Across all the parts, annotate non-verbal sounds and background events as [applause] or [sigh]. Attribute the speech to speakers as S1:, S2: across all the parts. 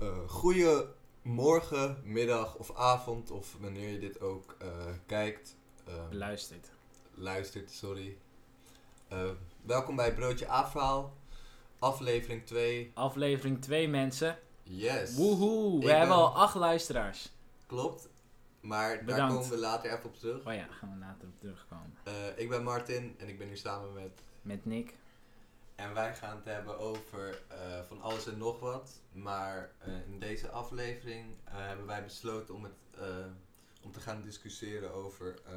S1: eh goeie morgen, middag of avond, of wanneer je dit ook eh, kijkt, eh,
S2: Luistert.
S1: luistert, sorry. Eh, welkom bij Broodje A-verhaal, aflevering 2.
S2: Aflevering 2 mensen.
S1: Yes,
S2: Woehoe, we
S1: Ik
S2: hebben
S1: ben-
S2: al 8 luisteraars.
S1: klopt. Maar daar
S2: Bedankt.
S1: komen we later even op terug.
S2: Oh ja, gaan we later op terugkomen.
S1: Eh, ik ben Martin en ik ben nu samen met
S2: Met Nick.
S1: En wij gaan het hebben over eh, van alles en nog wat. Maar eh, in deze aflevering eh, hebben wij besloten om, het, eh, om te gaan discussiëren over eh,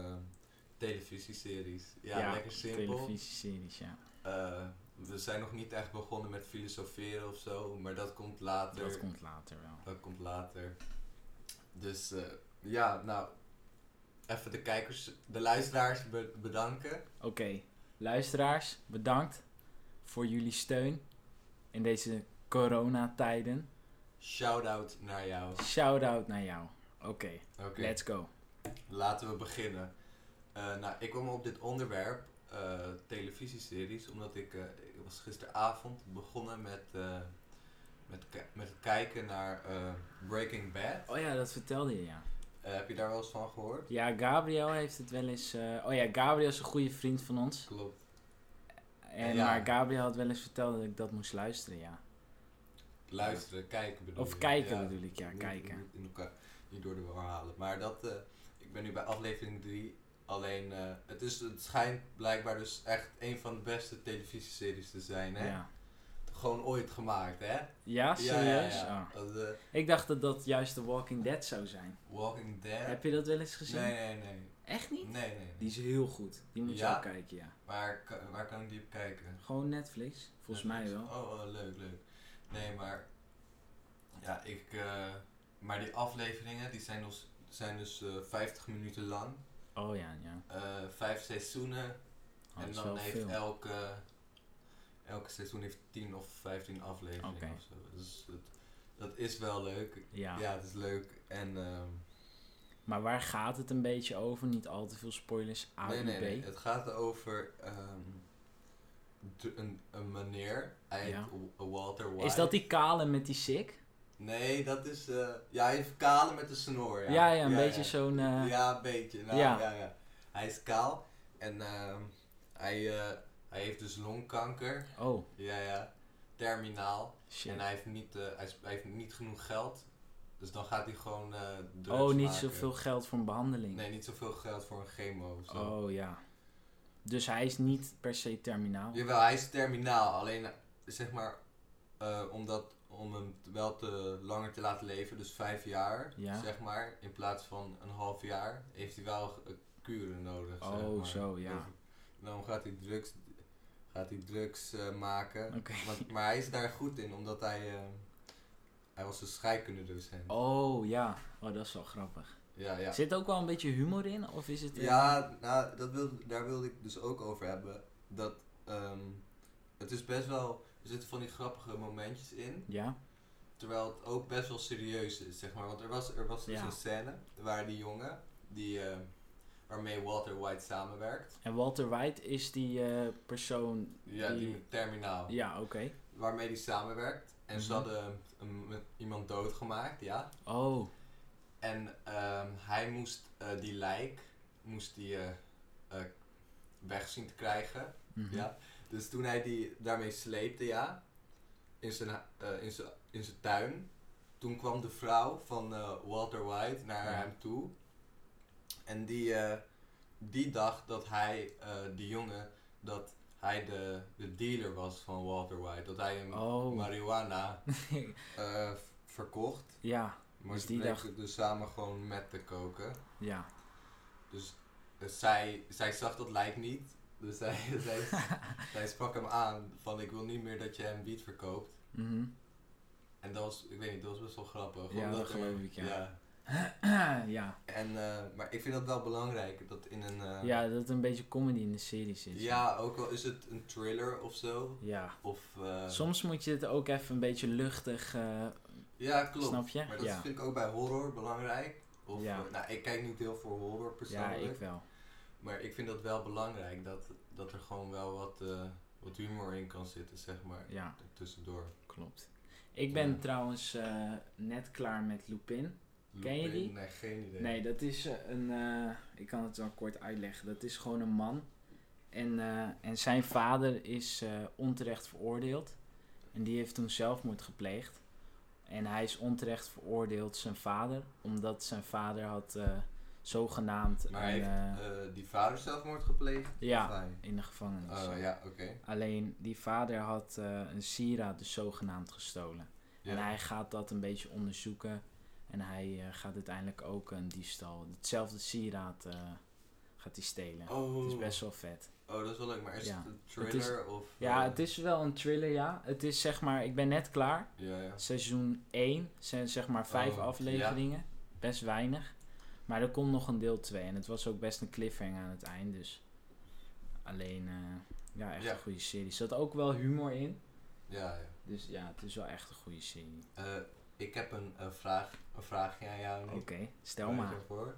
S1: televisieseries. Ja, lekker simpel.
S2: Televisieseries, ja.
S1: Eh, we zijn nog niet echt begonnen met filosoferen of zo, maar dat komt later.
S2: Dat komt later wel.
S1: Dat komt later. Dus eh, ja, nou, even de kijkers, de luisteraars be- bedanken.
S2: Oké, luisteraars, bedankt voor jullie steun in deze coronatijden.
S1: Shout-out naar jou.
S2: Shout-out naar jou. Oké,
S1: Oké.
S2: let's go.
S1: Laten we beginnen. Eh, nou, ik kwam op dit onderwerp, eh, televisieseries, omdat ik, eh, ik was gisteravond begonnen met, eh, met, ki- met het kijken naar eh, Breaking Bad.
S2: Oh ja, dat vertelde je, ja.
S1: Eh, heb je daar wel eens van gehoord?
S2: Ja, Gabriel heeft het wel eens... eh, oh ja, Gabriel is een goede vriend van ons.
S1: Klopt.
S2: En,
S1: Ja.
S2: Maar Gabriel had wel eens verteld dat ik dat moest luisteren, ja.
S1: Luisteren, kijken bedoel
S2: Of
S1: je?
S2: kijken
S1: Ja.
S2: bedoel ik, ja,
S1: Niet-
S2: kijken.
S1: Niet, in elkaar, niet door de war halen. Maar dat, eh, ik ben nu bij aflevering 3. Alleen, eh, het, is, het schijnt blijkbaar dus echt een van de beste televisieseries te zijn, hè?
S2: Ja,
S1: Gewoon ooit gemaakt, hè?
S2: ja serieus? Oh.
S1: Dat, eh,
S2: Ik dacht dat dat juist de Walking Dead zou zijn.
S1: Walking Dead.
S2: Heb je dat wel eens gezien?
S1: Nee, nee, nee.
S2: Echt niet?
S1: Nee, nee.
S2: Die is heel goed. Die moet
S1: Ja?
S2: je ook kijken, ja.
S1: Waar, kan- waar kan ik die op kijken?
S2: Gewoon Netflix, volgens mij wel.
S1: Oh, oh, leuk, leuk. Nee, maar... Ja, ik... eh, maar die afleveringen, die zijn, dus zijn dus eh 50 minuten lang.
S2: Oh ja, ja.
S1: Eh, vijf seizoenen.
S2: Oh, dat
S1: en
S2: is
S1: dan
S2: wel
S1: heeft
S2: veel.
S1: elke... Elke seizoen heeft 10 of 15 afleveringen
S2: Oké.
S1: of zo. Dus dat, dat is wel leuk.
S2: Ja.
S1: Ja, het is leuk. En... ehm,
S2: maar waar gaat het een beetje over? Niet al te veel spoilers. A
S1: nee,
S2: en
S1: nee,
S2: B.
S1: nee. Het gaat over ehm, de- een, een meneer. Hij
S2: Ja.
S1: heet W- Walter White.
S2: Is dat die kale met die sick?
S1: Nee, dat is... eh, ja, hij heeft kale met een snor.
S2: Ja,
S1: Ja,
S2: ja, een beetje zo'n...
S1: Ja.
S2: eh,
S1: Ja, een beetje. Nou,
S2: Ja.
S1: ja. Ja, Hij is kaal. En ehm, hij, eh, hij heeft dus longkanker.
S2: Oh,
S1: Ja, ja. Terminaal.
S2: shit.
S1: En hij heeft, niet, eh, hij, is- hij heeft niet genoeg geld. Dus dan gaat hij gewoon eh drugs
S2: oh, niet
S1: maken.
S2: zoveel geld voor een behandeling.
S1: Nee, niet zoveel geld voor een chemo of zo.
S2: oh ja. Dus hij is niet per se terminaal.
S1: Jawel, hij is terminaal. Alleen eh, zeg maar, eh, omdat, om hem t- wel te, langer te laten leven, dus vijf jaar,
S2: Ja.
S1: zeg maar, in plaats van een half jaar, heeft hij wel eh, kuren nodig. zeg
S2: Oh,
S1: maar.
S2: zo, ja.
S1: Dus dan gaat hij drugs, gaat hij drugs eh, maken.
S2: Oké.
S1: Want, maar hij is daar goed in, omdat hij, eh, hij was een scheikundedocent.
S2: Oh ja, oh, dat is wel grappig.
S1: Ja, ja.
S2: Zit ook wel een beetje humor in? Of is het... eh,
S1: Ja, nou, dat wil, daar wilde ik dus ook over hebben. Dat ehm, het is best wel. Er zitten van die grappige momentjes in.
S2: Ja?
S1: Terwijl het ook best wel serieus is, zeg maar. Want er was, er was dus
S2: Ja.
S1: een scène waar die jongen, die, ehm, waarmee Walter White samenwerkt.
S2: En Walter White is die eh, persoon...
S1: Ja, die,
S2: Die-
S1: met terminaal.
S2: Ja, oké.
S1: Waarmee die samenwerkt. En ze
S2: Mhm.
S1: hadden een, een- iemand doodgemaakt, ja.
S2: Oh,
S1: En ehm, hij moest eh, die lijk moest die, eh, eh, weg zien te krijgen.
S2: mhm.
S1: Ja, dus toen hij die daarmee sleepte, ja, in zijn, ha- eh, in zijn, in zijn tuin, toen kwam de vrouw van eh, Walter White naar
S2: Ja.
S1: hem toe. En die, eh, die dacht dat hij, eh die jongen, dat hij de, de dealer was van Walter White. Dat hij hem
S2: Oh,
S1: marihuana eh, v- verkocht.
S2: [laughs] ja,
S1: Maar
S2: Dus
S1: ze
S2: die
S1: bleken
S2: dacht-
S1: het dus samen gewoon met te koken.
S2: ja.
S1: Dus eh, zij, zij zag dat lijkt niet. Dus zij, [laughs]
S2: [laughs]
S1: zij, zij sprak hem aan van ik wil niet meer dat je hem wiet verkoopt.
S2: Mhm.
S1: En dat was, ik weet niet, dat was best wel grappig.
S2: Ja,
S1: omdat
S2: dat
S1: er-
S2: geloof ik, ja. ja.
S1: En, eh, maar ik vind dat wel belangrijk, dat in een... eh,
S2: ja, dat het een beetje comedy in de serie zit.
S1: ja, ook al is het een thriller of zo.
S2: Ja.
S1: Of, eh,
S2: Soms moet je het ook even een beetje luchtig... eh,
S1: ja, klopt.
S2: snap je?
S1: Maar dat
S2: Ja.
S1: vind ik ook bij horror belangrijk. Of,
S2: Ja.
S1: eh, nou, ik kijk niet heel voor horror
S2: ja,
S1: persoonlijk.
S2: ik wel.
S1: Maar ik vind dat wel belangrijk, dat, dat er gewoon wel wat, eh, wat humor in kan zitten, zeg maar,
S2: Ja,
S1: tussendoor.
S2: klopt. Ik ben
S1: Ja.
S2: trouwens eh, net klaar met Lupin. Ken je
S1: Lupin?
S2: die?
S1: Nee, geen idee.
S2: Nee, dat is eh, een. eh, ik kan het wel kort uitleggen. Dat is gewoon een man. En, eh, en zijn vader is eh, onterecht veroordeeld. En die heeft toen zelfmoord gepleegd. En hij is onterecht veroordeeld, zijn vader. Omdat zijn vader had eh, zogenaamd.
S1: Maar hij
S2: een,
S1: heeft
S2: eh,
S1: eh, die vader zelfmoord gepleegd?
S2: ja,
S1: Of hij?
S2: in de gevangenis.
S1: Oh ja, oké.
S2: Alleen die vader had eh, een sieraad dus zogenaamd gestolen.
S1: Ja.
S2: En hij gaat dat een beetje onderzoeken. En hij eh, gaat uiteindelijk ook een diefstal. Hetzelfde sieraad eh, gaat hij stelen.
S1: Oh.
S2: Het is best wel vet.
S1: oh, dat is wel leuk, maar is
S2: Ja.
S1: het een
S2: is-
S1: thriller of...
S2: Ja,
S1: eh,
S2: het is wel een thriller, ja. Het is zeg maar, ik ben net klaar.
S1: Ja, ja.
S2: Seizoen 1 zijn zeg maar vijf
S1: Oh,
S2: afleveringen. Best weinig. Maar er komt nog een deel 2. En het was ook best een cliffhanger aan het eind. Dus alleen, eh, ja, echt
S1: Ja.
S2: een goede serie. Er zat ook wel humor in.
S1: ja, ja.
S2: Dus ja, het is wel echt een goede serie.
S1: Eh, ik heb een, eh, vraag, een vraagje aan jou.
S2: Oké,
S1: Nick.
S2: stel Oh, maar. Oké.
S1: Voor.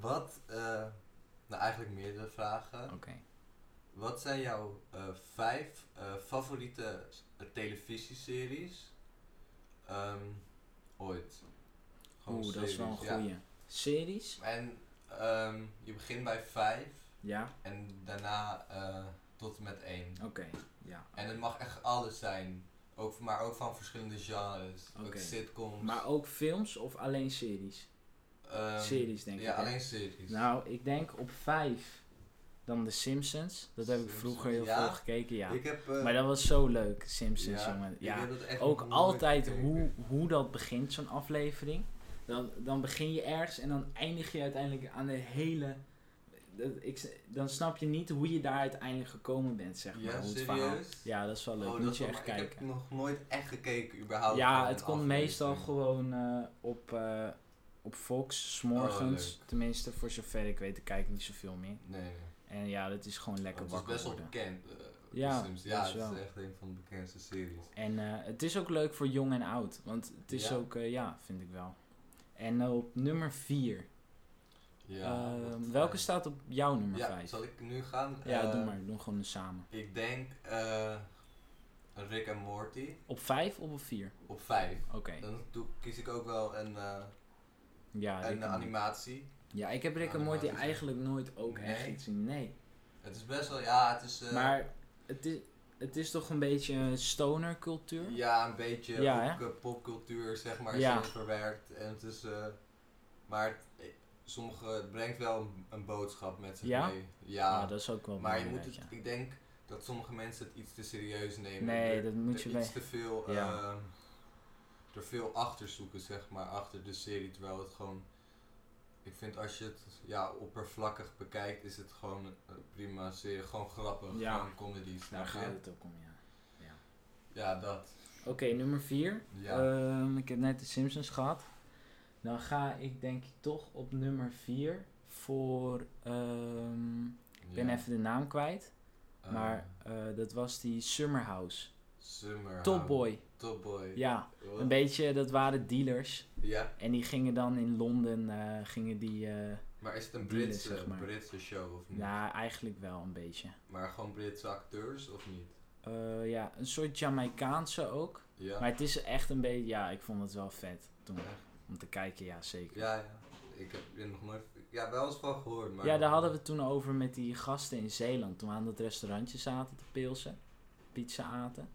S1: Wat, eh, nou eigenlijk meerdere vragen.
S2: Oh.
S1: Wat zijn jouw eh, vijf eh, favoriete s- eh, televisieseries ehm, ooit? Gewoon
S2: Oeh, dat is wel een
S1: series, ja.
S2: goeie. Series?
S1: En ehm, je begint bij vijf
S2: Ja,
S1: en daarna eh, tot en met één.
S2: oké. Ja.
S1: En het mag echt alles zijn, ook, maar ook van verschillende genres. Ook
S2: Oké.
S1: sitcoms.
S2: Maar ook films of alleen series?
S1: ehm,
S2: series, denk
S1: Ja,
S2: ik, hè?
S1: alleen series.
S2: Nou, ik denk op vijf dan The Simpsons. Dat heb ik
S1: Simpsons,
S2: vroeger heel
S1: ja?
S2: veel gekeken, ja.
S1: Ik heb, eh,
S2: Maar dat was zo leuk, Simpsons,
S1: ja,
S2: jongen.
S1: ik
S2: Ja.
S1: heb dat echt
S2: Ook
S1: nooit
S2: altijd
S1: gekeken.
S2: hoe, hoe dat begint, zo'n aflevering. Dan, dan begin je ergens en dan eindig je uiteindelijk aan de hele... dat- Ik, dan snap je niet hoe je daar uiteindelijk gekomen bent, zeg maar.
S1: Ja,
S2: hoe het verhaal-
S1: serieus?
S2: Ja, dat is wel leuk.
S1: Oh, dat
S2: Moet
S1: is
S2: je
S1: wel-
S2: echt
S1: maar Ik
S2: kijken.
S1: heb nog nooit echt gekeken, überhaupt.
S2: Ja,
S1: van
S2: het
S1: een
S2: komt
S1: aflevering.
S2: meestal gewoon eh, op, eh, op Fox, s morgens.
S1: Oh, leuk.
S2: Tenminste, voor zover ik weet, ik kijk niet zoveel meer.
S1: Nee, nee.
S2: En ja, dat is gewoon lekker
S1: Oh, het is
S2: wakker
S1: best wel
S2: worden.
S1: bekend. eh, de
S2: Ja,
S1: Sims. ja
S2: best
S1: het is
S2: wel.
S1: echt een van de bekendste series.
S2: En eh, het is ook leuk voor jong en oud. Want het is
S1: Ja.
S2: ook, eh, ja, vind ik wel. En eh, op nummer 4.
S1: Ja, wat
S2: Ehm, welke
S1: fijn.
S2: staat op jouw nummer
S1: Ja,
S2: 5?
S1: zal ik nu gaan?
S2: Ja,
S1: Eh,
S2: doe maar. Doe gewoon samen.
S1: Ik denk eh, Rick en Morty
S2: Op 5 of op 4?
S1: op 5.
S2: Oké.
S1: Dan doe, kies ik ook wel een, eh,
S2: Ja, Rick
S1: een
S2: en Morty.
S1: animatie.
S2: ja, ik heb Rick en Morty
S1: animatie.
S2: eigenlijk nooit ook echt
S1: Nee?
S2: iets zien. Nee.
S1: Het is best wel, ja, het is... eh,
S2: Maar het is, het is toch een beetje een stoner cultuur?
S1: Ja, een beetje
S2: Ja,
S1: ook,
S2: hè?
S1: eh, popcultuur, zeg maar,
S2: Ja.
S1: is erin verwerkt. En het is, eh, maar het, eh, sommige, het brengt wel een, een boodschap met zich
S2: Ja?
S1: mee. Ja,
S2: Nou, dat is ook wel
S1: maar je moet
S2: belangrijk,
S1: het,
S2: ja.
S1: ik denk dat sommige mensen het iets te serieus nemen.
S2: Nee,
S1: Er-
S2: dat moet
S1: er
S2: je bij...
S1: iets te veel,
S2: Ja.
S1: ehm, er veel achter zoeken, zeg maar, achter de serie. Terwijl het gewoon, ik vind als je het ja, oppervlakkig bekijkt, is het gewoon een prima serie. Gewoon grappig,
S2: Ja.
S1: gewoon comedy,
S2: Daar
S1: snap
S2: gaat
S1: je?
S2: het ook om, ja. ja.
S1: Ja, dat.
S2: Oké, nummer 4.
S1: Ja.
S2: ik heb net de Simpsons gehad. Dan ga ik denk ik toch op nummer 4 voor... ehm, ik ben
S1: ja.
S2: even de naam kwijt.
S1: Eh,
S2: maar eh, dat was die Summer House.
S1: Summer.
S2: Top Boy.
S1: Top boy.
S2: Ja,
S1: Wat?
S2: een beetje, dat waren dealers.
S1: Ja,
S2: En die gingen dan in Londen, eh, gingen die... eh,
S1: maar is het een
S2: Dealers,
S1: Britse,
S2: zeg maar.
S1: Britse show of niet?
S2: ja, eigenlijk wel een beetje.
S1: Maar gewoon Britse acteurs of niet?
S2: Eh, ja, een soort Jamaicaanse ook.
S1: Ja.
S2: Maar het is echt een beetje... Ja, ik vond het wel vet toen.
S1: Echt?
S2: Om te kijken, ja, zeker.
S1: ja, ja. Ik heb er nog nooit. Ja, wel eens van gehoord, maar.
S2: Ja, daar hadden we het toen over met die gasten in Zeeland. Toen we aan dat restaurantje zaten te pilsen. Pizza aten.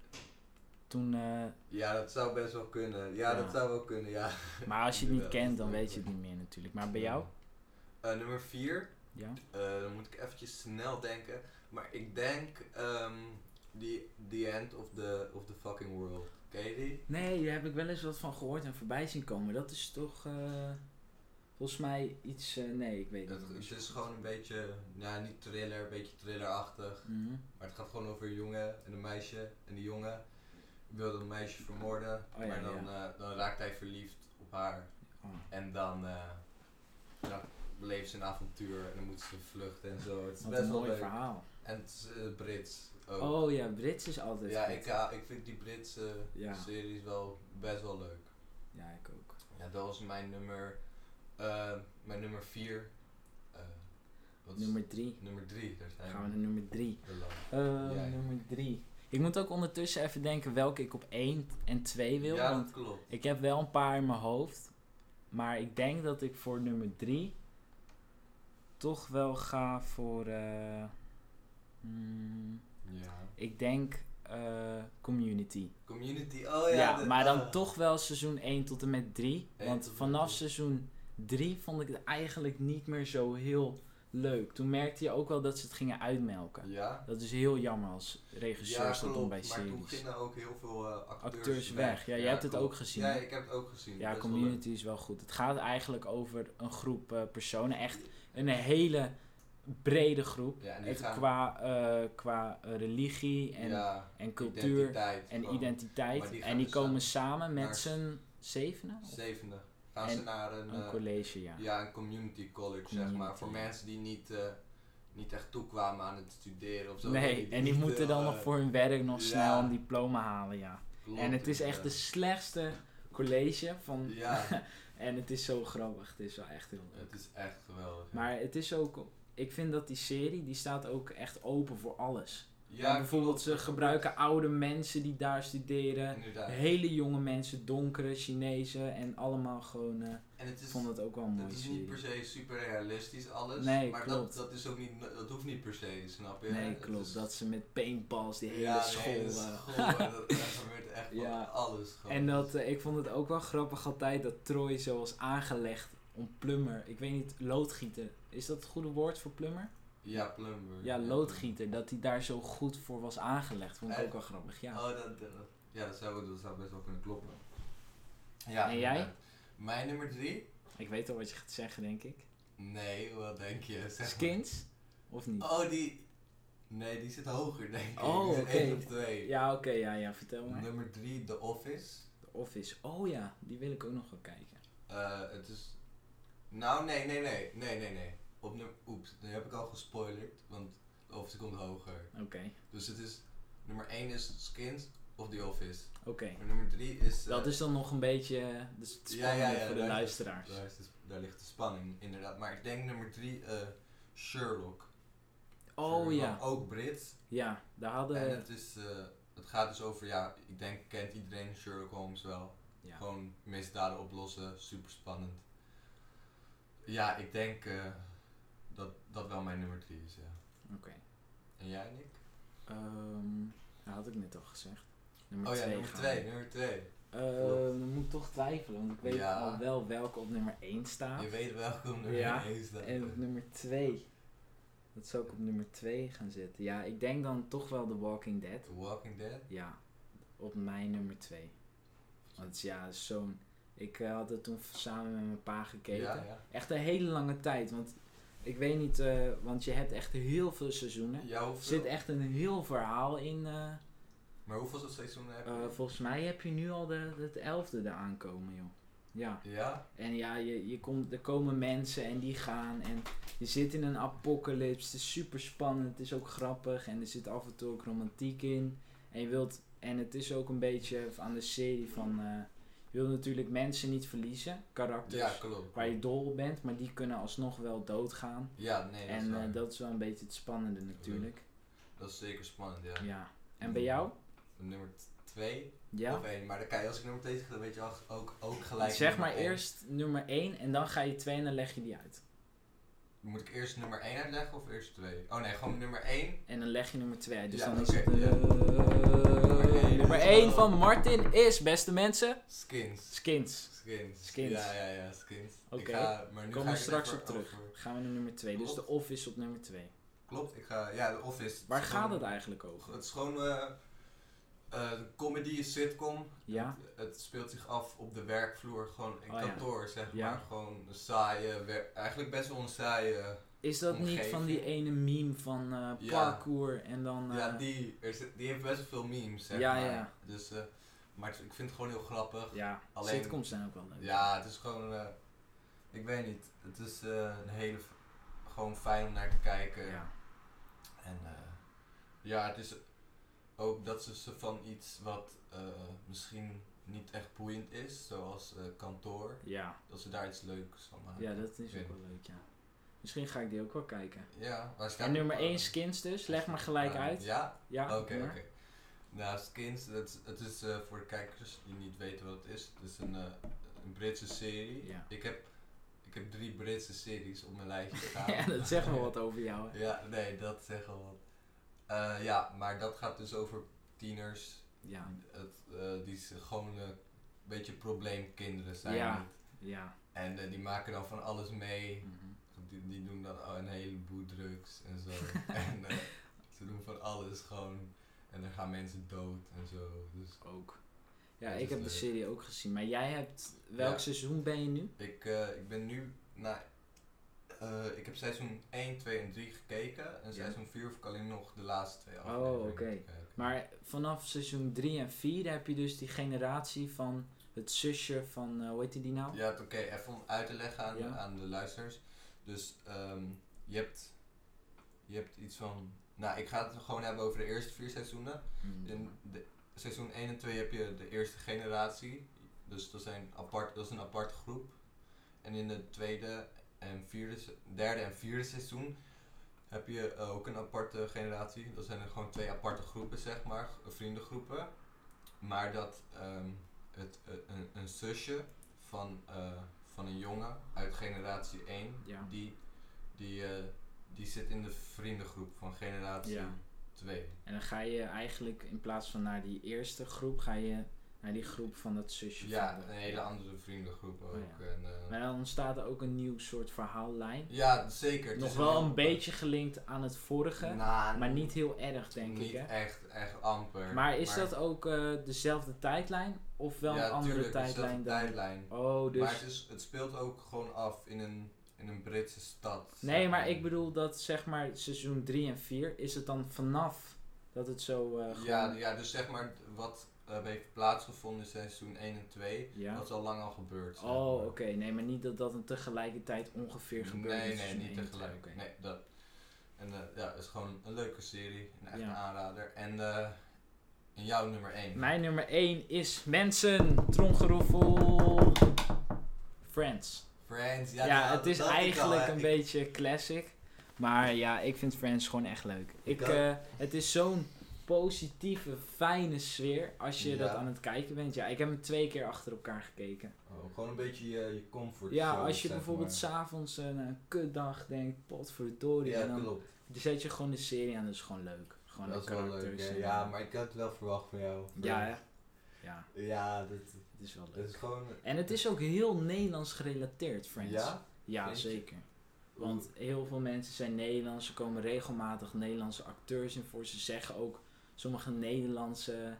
S2: Toen... eh,
S1: Ja, dat zou best wel kunnen. Ja,
S2: Ja.
S1: dat zou wel kunnen, ja.
S2: maar als je het niet
S1: Inderdaad,
S2: kent, dan
S1: dat
S2: weet je
S1: klopt.
S2: het niet meer natuurlijk. Maar bij jou?
S1: Eh, nummer 4.
S2: Ja?
S1: dan moet ik eventjes snel denken. Maar ik denk. ehm the, the End of the, of the Fucking World. Ken je die?
S2: Nee, daar heb ik wel eens wat van gehoord en voorbij zien komen. Dat is toch... eh, volgens mij iets... eh, nee, ik weet
S1: Het,
S2: het
S1: het
S2: niet.
S1: is dus gewoon een beetje. Nou, niet thriller, een beetje thrillerachtig.
S2: Mhm.
S1: Maar het gaat gewoon over een jongen en een meisje. En die jongen wilde een meisje vermoorden.
S2: Oh ja,
S1: maar dan, eh, dan raakt hij verliefd op haar.
S2: Oh.
S1: En dan, eh, dan beleeft ze een avontuur. En dan moet ze vluchten en zo. Het is
S2: Oh, Wat
S1: best
S2: een
S1: wel
S2: mooi
S1: leuk.
S2: verhaal.
S1: En het is eh, Brits ook.
S2: Oh ja, Brits is altijd
S1: ja,
S2: vet.
S1: ik, eh, ik vind die Britse
S2: Ja.
S1: series wel best wel leuk.
S2: Ja, ik ook.
S1: Ja, dat was mijn nummer... eh, mijn nummer 4. wat is
S2: Nummer 3.
S1: Nummer 3. Daar zijn
S2: Gaan we naar nummer 3.
S1: we. Beland.
S2: ehm, Eh,
S1: Jij.
S2: Nummer 3. Ik moet ook ondertussen even denken welke ik op 1 en 2 wil.
S1: ja,
S2: want
S1: dat klopt.
S2: ik heb wel een paar in mijn hoofd. Maar ik denk dat ik voor nummer 3 toch wel ga voor. eh, mm,
S1: Ja.
S2: ik denk eh, community.
S1: Community, oh ja.
S2: Ja,
S1: de-
S2: maar dan
S1: ah.
S2: toch wel seizoen 1 tot en met 3.
S1: Eén
S2: Want
S1: tot en met
S2: vanaf
S1: drie.
S2: seizoen 3 vond ik het eigenlijk niet meer zo heel leuk. Toen merkte je ook wel dat ze het gingen uitmelken.
S1: Ja.
S2: Dat is heel jammer als regisseurs
S1: Ja,
S2: dat doen
S1: klopt,
S2: bij
S1: maar toen
S2: series.
S1: gingen ook heel veel eh, acteurs,
S2: Acteurs weg. Ja, jij hebt het
S1: klopt.
S2: ook gezien,
S1: Ja,
S2: hè?
S1: ik heb het ook gezien.
S2: Ja,
S1: Best wel
S2: community is wel goed. Het gaat eigenlijk over een groep eh, personen. Echt een hele brede groep.
S1: leuk. Ja, en die
S2: Het,
S1: gaan-
S2: qua eh, qua eh, religie en,
S1: ja,
S2: en cultuur
S1: identiteit
S2: en
S1: gewoon.
S2: identiteit.
S1: Maar die gaan
S2: en die
S1: dus samen
S2: komen samen
S1: naar-
S2: met z'n zevenen? of
S1: Zevende. Gaan
S2: En
S1: ze naar een,
S2: Een
S1: eh,
S2: college, ja.
S1: ja, een community college, zeg maar.
S2: Community.
S1: Voor mensen die niet, eh, niet echt toekwamen aan het studeren of zo.
S2: Nee, en die
S1: niet,
S2: moeten dan
S1: eh,
S2: nog voor hun werk nog
S1: ja.
S2: snel een diploma halen, ja.
S1: klopt,
S2: En het is echt de
S1: inderdaad.
S2: slechtste college van...
S1: Ja,
S2: En het is zo grappig, het is wel echt heel leuk.
S1: het is echt geweldig. ja.
S2: Maar het is ook... Ik vind dat die serie, die staat ook echt open voor alles.
S1: ja,
S2: bijvoorbeeld, ze gebruiken oude mensen die daar studeren.
S1: inderdaad.
S2: Hele jonge mensen, donkere, Chinezen en allemaal gewoon... eh,
S1: En het
S2: ik
S1: is,
S2: vond het ook wel een
S1: het
S2: mooie
S1: is niet
S2: serie.
S1: per se super realistisch alles.
S2: Nee,
S1: maar Dat,
S2: klopt.
S1: dat, is ook niet, dat hoeft niet per se, snap je?
S2: Nee,
S1: Het
S2: klopt.
S1: is-
S2: Dat ze met paintballs die hele
S1: ja, nee,
S2: school...
S1: hele
S2: eh,
S1: school, eh, dat, daar gebeurt echt van
S2: [laughs] Ja.
S1: alles gewoon.
S2: En dat, eh, ik vond het ook wel grappig altijd dat Troy zo was aangelegd om plummer. Ik weet niet, loodgieter. Is dat het goede woord voor plummer?
S1: ja, plumber.
S2: Ja, loodgieter. Dat hij daar zo goed voor was aangelegd. Vond ik
S1: Eh,
S2: ook wel grappig, ja.
S1: Oh, dat, dat, ja, dat zou, dat zou best wel kunnen kloppen.
S2: En
S1: Ja,
S2: jij?
S1: inderdaad. Mijn nummer drie?
S2: Ik weet al wat je gaat zeggen, denk ik.
S1: Nee, wat denk je? Zeg maar.
S2: Skins? Of niet?
S1: Oh, die... Nee, die zit hoger, denk ik.
S2: Oh,
S1: die zit
S2: oké.
S1: één of twee.
S2: Ja, oké, ja, ja, vertel maar.
S1: Nummer drie, The Office.
S2: The Office. Oh ja, die wil ik ook nog wel kijken.
S1: Eh, het is... Nou, nee, nee, nee. Nee, nee, nee. Op nummer... Oeps, nu heb ik al gespoilerd, want The Office komt hoger.
S2: Oké,
S1: Dus het is... Nummer 1 is Skins of The Office.
S2: oké.
S1: Maar nummer 3 is... eh,
S2: Dat is dan nog een beetje eh, de s-
S1: Ja, ja,
S2: spanning
S1: ja,
S2: voor de
S1: daar is-
S2: luisteraars.
S1: Daar, is de sp- daar ligt de spanning, inderdaad. Maar ik denk nummer 3, Sherlock.
S2: Oh
S1: Sherlock,
S2: ja,
S1: Ook Brits.
S2: ja, daar hadden...
S1: En het, is, eh, het gaat dus over, ja, ik denk kent iedereen Sherlock Holmes wel.
S2: ja.
S1: Gewoon misdaden oplossen, super spannend. Ja, ik denk eh, dat dat wel mijn nummer 3 is, ja.
S2: Oké.
S1: En jij, Nick?
S2: Ehm, dat had ik net al gezegd. Nummer
S1: oh ja,
S2: twee
S1: nummer
S2: gaan
S1: 2,
S2: we.
S1: nummer 2.
S2: Ehm, dan moet ik toch twijfelen, want ik weet
S1: Ja.
S2: al wel welke op nummer 1 staat.
S1: Je weet welke nummer
S2: Ja,
S1: 1 staat.
S2: En op nummer 2. Dat zou ik op nummer 2 gaan zetten. Ja, ik denk dan toch wel The Walking Dead.
S1: The Walking Dead.
S2: Ja, op mijn nummer 2. Want ja, dat is zo'n. Ik eh, had het toen v- samen met mijn pa gekeken.
S1: Ja, ja.
S2: Echt een hele lange tijd, want ik weet niet, eh, want je hebt echt heel veel seizoenen.
S1: Ja,
S2: Er
S1: hoeveel-
S2: zit echt een heel verhaal in. eh,
S1: Maar hoeveel seizoenen heb je?
S2: Eh, volgens mij heb je nu al de, het elfde eraan komen, joh. Ja,
S1: ja?
S2: en ja, je, je komt, er komen mensen en die gaan en je zit in een apocalypse. Het is super spannend, het is ook grappig en er zit af en toe ook romantiek in. En je wilt, en het is ook een beetje aan de serie van, eh, je wilt natuurlijk mensen niet verliezen, karakters
S1: Ja, klopt.
S2: Dus waar je dol op bent, maar die kunnen alsnog wel doodgaan.
S1: Ja, nee, dat
S2: en
S1: is
S2: eh,
S1: waar.
S2: dat is wel een beetje het spannende natuurlijk.
S1: Dat is zeker spannend, ja.
S2: Ja. En bij jou?
S1: Nummer 2
S2: Ja?
S1: of 1. Maar dan kan je, als ik nummer 2 zeg, dan weet je ook, ook, ook gelijk.
S2: Want zeg
S1: nummer
S2: maar
S1: één.
S2: eerst nummer 1 en dan ga je 2 en dan leg je die uit.
S1: Moet ik eerst nummer 1 uitleggen of eerst 2? Oh nee, gewoon nummer 1.
S2: En dan leg je nummer 2 uit. Dus
S1: Ja,
S2: dan is
S1: oké,
S2: het. eh,
S1: ja. één.
S2: nummer 1 van Martin is, beste mensen,
S1: Skins.
S2: Skins.
S1: Skins.
S2: Skins.
S1: Ja, ja, ja, skins. Ik
S2: Oké.
S1: ga- maar nu
S2: Komen
S1: ga
S2: we
S1: ik
S2: straks
S1: even
S2: op terug.
S1: over-
S2: Gaan we naar nummer 2. Dus de
S1: Klopt.
S2: office op nummer 2.
S1: Klopt, ik ga. Ja, de Office.
S2: Waar
S1: is
S2: gaat
S1: gewoon-
S2: het eigenlijk over?
S1: Het is gewoon. eh, eh, een comedy, een sitcom.
S2: Ja,
S1: Het speelt zich af op de werkvloer, gewoon in
S2: Oh ja.
S1: kantoor, zeg
S2: Ja.
S1: maar. Gewoon een saaie, wer- eigenlijk best wel een saaie.
S2: is dat niet
S1: omgeving.
S2: van die ene meme van eh
S1: Ja.
S2: parkour en dan. eh,
S1: ja, die, er zit- die heeft best wel veel memes, zeg
S2: Ja,
S1: maar.
S2: ja.
S1: Dus, eh, maar het- ik vind het gewoon heel grappig.
S2: ja,
S1: Alleen-
S2: sitcoms zijn ook wel leuk.
S1: Ja, het is gewoon, eh, ik weet niet, het is eh, een hele, f- gewoon fijn om naar te kijken.
S2: Ja.
S1: En eh, ja, het is ook dat ze ze van iets wat eh, misschien niet echt boeiend is, zoals eh, kantoor,
S2: Ja.
S1: dat ze daar iets leuks van maken.
S2: ja, dat is
S1: weet
S2: ook wel leuk, ja. Misschien ga ik die ook wel kijken.
S1: Ja, waar staat
S2: En nummer
S1: het?
S2: 1 skins dus, leg maar gelijk
S1: Eh,
S2: uit.
S1: Ja,
S2: Ja,
S1: oké,
S2: doe
S1: oké.
S2: maar.
S1: Nou, Skins, dat is, het is eh, voor de kijkers die niet weten wat het is. Het is een, eh, een Britse serie.
S2: Ja.
S1: Ik, heb, ik heb drie Britse series op mijn lijstje
S2: [laughs]
S1: staan.
S2: ja, dat zegt wel wat over jou. Hè?
S1: Ja, nee, dat zegt wel wat. Eh, ja, maar dat gaat dus over tieners
S2: Ja,
S1: het, eh, die ze gewoon eh, een beetje probleemkinderen zijn.
S2: Ja. ja.
S1: En eh, die maken dan van alles mee.
S2: Mhm.
S1: Die, die doen dan al een heleboel drugs en
S2: [laughs]
S1: zo. en eh, ze doen van alles gewoon. En er gaan mensen dood en zo. Dus
S2: Ook. Ja,
S1: Dat
S2: ik
S1: is
S2: heb de
S1: leuk.
S2: serie ook gezien. Maar jij hebt... Welk
S1: Ja.
S2: seizoen ben je nu?
S1: ik, eh, ik ben nu. Nou, eh, ik heb seizoen 1, 2 en 3 gekeken. En
S2: Ja.
S1: seizoen 4 hoef ik alleen nog de laatste twee
S2: Oh,
S1: afleveringen
S2: oké.
S1: te kijken.
S2: Maar vanaf seizoen 3 en 4 heb je dus die generatie van het zusje van... eh, hoe heet die nou?
S1: Ja, het- oké, even om uit te leggen aan,
S2: Ja.
S1: aan de luisteraars. Dus ehm, je, hebt, je hebt iets van. Nou, ik ga het gewoon hebben over de eerste vier seizoenen.
S2: Mm.
S1: In de, seizoen 1 en 2 heb je de eerste generatie. Dus dat, zijn apart, dat is een aparte groep. En in het tweede en vierde, se- derde en vierde seizoen heb je eh, ook een aparte generatie. Dat zijn er gewoon twee aparte groepen, zeg maar, g- vriendengroepen. Maar dat ehm, het, eh, een, een zusje van, eh, van een jongen uit generatie 1,
S2: Ja.
S1: die, die, eh, die zit in de vriendengroep van generatie
S2: Ja.
S1: 2.
S2: En dan ga je eigenlijk in plaats van naar die eerste groep, ga je naar die groep van dat zusje.
S1: Ja,
S2: van de-
S1: een hele andere vriendengroep ook.
S2: Oh ja.
S1: en, eh,
S2: Maar dan ontstaat er ook een nieuw soort verhaallijn.
S1: ja, zeker. het
S2: Nog
S1: is
S2: wel
S1: heel-
S2: een beetje gelinkt aan het vorige,
S1: Nou,
S2: maar niet heel erg, denk
S1: niet
S2: ik. Hè?
S1: echt, echt amper.
S2: Maar is dat ook eh, dezelfde tijdlijn? Of wel
S1: ja,
S2: een andere
S1: tuurlijk, het is wel
S2: tijdlijn
S1: een
S2: dan?
S1: tijdlijn.
S2: Oh,
S1: Maar
S2: dus.
S1: het, is, het speelt ook gewoon af in een, in een Britse stad.
S2: Nee,
S1: zeg
S2: maar ik bedoel dat zeg maar seizoen 3 en 4, is het dan vanaf dat het zo. eh gewoon...
S1: Ja, ja, dus zeg maar wat eh, heeft plaatsgevonden in seizoen 1 en 2,
S2: Ja?
S1: dat is al lang al gebeurd. zeg
S2: Oh,
S1: maar.
S2: oké. Nee, maar niet dat dat een tegelijkertijd ongeveer gebeurt.
S1: Nee, nee,
S2: met seizoen
S1: niet
S2: één en twee,
S1: tegelijk.
S2: oké.
S1: Nee, dat. En eh, ja, het is gewoon een leuke serie, een echte
S2: Ja.
S1: aanrader. En eh, en jouw nummer 1.
S2: Mijn nummer 1 is mensen, tromgeroffel, Friends.
S1: Friends, ja,
S2: Ja,
S1: dat-
S2: het is
S1: dat ik al,
S2: eigenlijk
S1: hè.
S2: een
S1: Ik-
S2: beetje classic. Maar ja, ik vind Friends gewoon echt leuk. Ik,
S1: ook.
S2: eh, het is zo'n positieve, fijne sfeer als je
S1: Ja.
S2: dat aan het kijken bent. Ja, ik heb hem twee keer achter elkaar gekeken.
S1: Oh, gewoon een beetje je, je comfort.
S2: Ja,
S1: zone,
S2: als je
S1: zeg
S2: bijvoorbeeld
S1: maar.
S2: s'avonds een, een kutdag denkt, potverdorie.
S1: Ja,
S2: en dan
S1: klopt.
S2: zet je gewoon de serie aan, dat is gewoon leuk. Gewoon
S1: Dat is
S2: de
S1: wel leuk.
S2: karakters
S1: hè.
S2: en-
S1: Ja, maar ik had het wel verwacht van jou.
S2: ja, hè? ja,
S1: Ja, dat,
S2: het is wel leuk.
S1: dat is gewoon...
S2: En het is ook heel Nederlands gerelateerd, Friends.
S1: Ja?
S2: Ja,
S1: Vind je?
S2: zeker. Want heel veel mensen zijn Nederlands. Er komen regelmatig Nederlandse acteurs in voor. Ze zeggen ook sommige Nederlandse...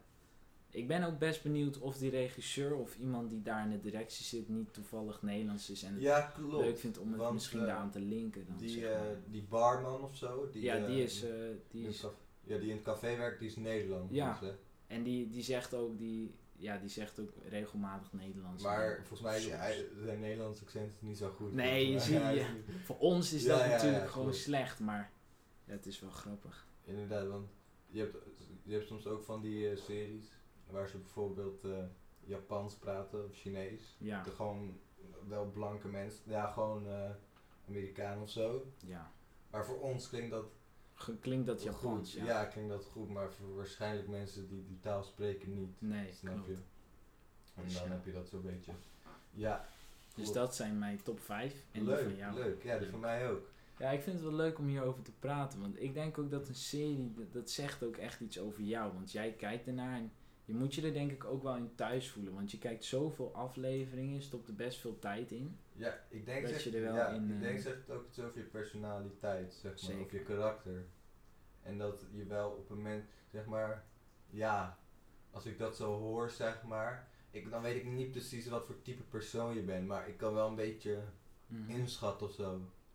S2: Ik ben ook best benieuwd of die regisseur of iemand die daar in de directie zit niet toevallig Nederlands is. En het
S1: Ja, klopt.
S2: leuk vindt om het
S1: want,
S2: misschien
S1: eh,
S2: daaraan te linken. Dan,
S1: Die,
S2: zeg maar.
S1: eh, die barman of zo. Die,
S2: ja,
S1: eh,
S2: die is... eh, die
S1: in
S2: is
S1: het caf- ja, die in het café werkt, die is Nederlands.
S2: Ja.
S1: dus, hè.
S2: en die, die zegt ook... Die, ja, die zegt ook regelmatig Nederlands.
S1: Maar volgens mij is
S2: Soms.
S1: hij- zijn Nederlands accent is niet zo goed.
S2: Nee,
S1: volgens
S2: je
S1: mij.
S2: ziet-
S1: hij is niet-
S2: Voor ons is
S1: Ja,
S2: dat
S1: ja, ja,
S2: natuurlijk gewoon
S1: klopt.
S2: slecht, maar ja, het is wel grappig.
S1: Inderdaad, want je hebt, je hebt soms ook van die eh, series waar ze bijvoorbeeld eh, Japans praten of Chinees.
S2: Ja,
S1: De gewoon wel blanke mensen. Ja, gewoon eh Amerikaan of zo.
S2: ja.
S1: Maar voor ons klinkt dat
S2: Ge- Klinkt dat Japans?
S1: goed. Ja. klinkt dat goed, maar voor waarschijnlijk mensen die die taal spreken niet.
S2: Nee,
S1: snap
S2: klopt.
S1: je? En
S2: Dus
S1: dan
S2: ja.
S1: heb je dat zo'n beetje. Ja,
S2: Dus
S1: Klopt.
S2: dat zijn mijn top 5. En die van
S1: leuk,
S2: jou.
S1: leuk. Ja, die
S2: Leuk.
S1: van mij ook.
S2: Ja, ik vind het wel leuk om hierover te praten. Want ik denk ook dat een serie, dat, dat zegt ook echt iets over jou. Want jij kijkt ernaar en je moet je er denk ik ook wel in thuis voelen. Want je kijkt zoveel afleveringen, je stopt er best veel tijd in.
S1: Ja, ik denk
S2: Dat
S1: zegt-
S2: je er wel
S1: ja,
S2: in,
S1: ik
S2: eh,
S1: denk zegt het ook iets over je personaliteit, zeg maar, of
S2: Zeker.
S1: je karakter. En dat je wel op een moment, zeg maar, ja, als ik dat zo hoor, zeg maar, ik, dan weet ik niet precies wat voor type persoon je bent, maar ik kan wel een beetje
S2: Mhm.
S1: inschatten of zo,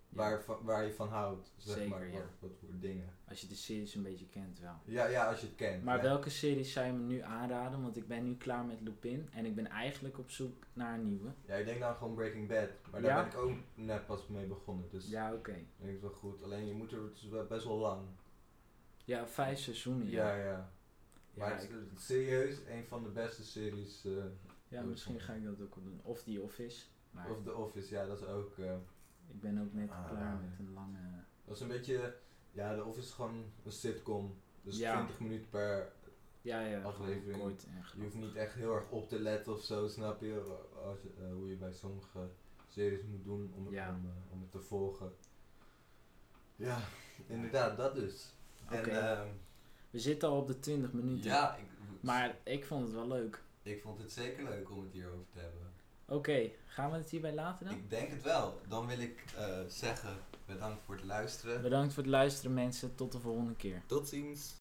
S2: Ja,
S1: waar, va- waar je van houdt, zeg
S2: Zeker,
S1: maar,
S2: ja.
S1: wat, wat voor dingen.
S2: Als je de series een beetje kent wel.
S1: Ja, ja, als je het kent.
S2: Maar
S1: ja.
S2: welke series zou je me nu aanraden? Want ik ben nu klaar met Lupin en ik ben eigenlijk op zoek naar een nieuwe.
S1: Ja, ik denk dan gewoon Breaking Bad, maar
S2: Ja?
S1: daar ben ik ook net pas mee begonnen, dus
S2: Ja, oké.
S1: ik denk het wel goed. Alleen je moet er, het is wel best wel lang.
S2: Ja, vijf seizoenen. Ja,
S1: Ja, ja. Maar
S2: Ja,
S1: het is
S2: ik-
S1: eh, serieus een van de beste series. eh,
S2: Ja, misschien ga ik dat ook wel doen. Of The Office. Maar
S1: of The Office, ja, dat is ook. eh,
S2: ik ben ook net
S1: Ah,
S2: klaar
S1: ja.
S2: met een lange...
S1: dat is een beetje. Ja, The Office is gewoon een sitcom. Dus
S2: Ja.
S1: 20 minuten per
S2: Ja, ja.
S1: Aflevering.
S2: gewoon kort en
S1: Je hoeft
S2: grappig.
S1: niet echt heel erg op te letten of zo, snap je? wa- Als, je- eh, hoe je bij sommige series moet doen om,
S2: Ja.
S1: om, eh, om het te volgen. Ja, inderdaad, dat dus.
S2: Oké.
S1: En, ehm,
S2: We zitten al op de 20 minuten.
S1: ja, ik,
S2: Maar ik vond het wel leuk.
S1: ik vond het zeker leuk om het hierover te hebben.
S2: Oké, gaan we het hierbij laten dan?
S1: Ik denk het wel. Dan wil ik eh, zeggen, bedankt voor het luisteren.
S2: Bedankt voor het luisteren mensen. Tot de volgende keer.
S1: Tot ziens.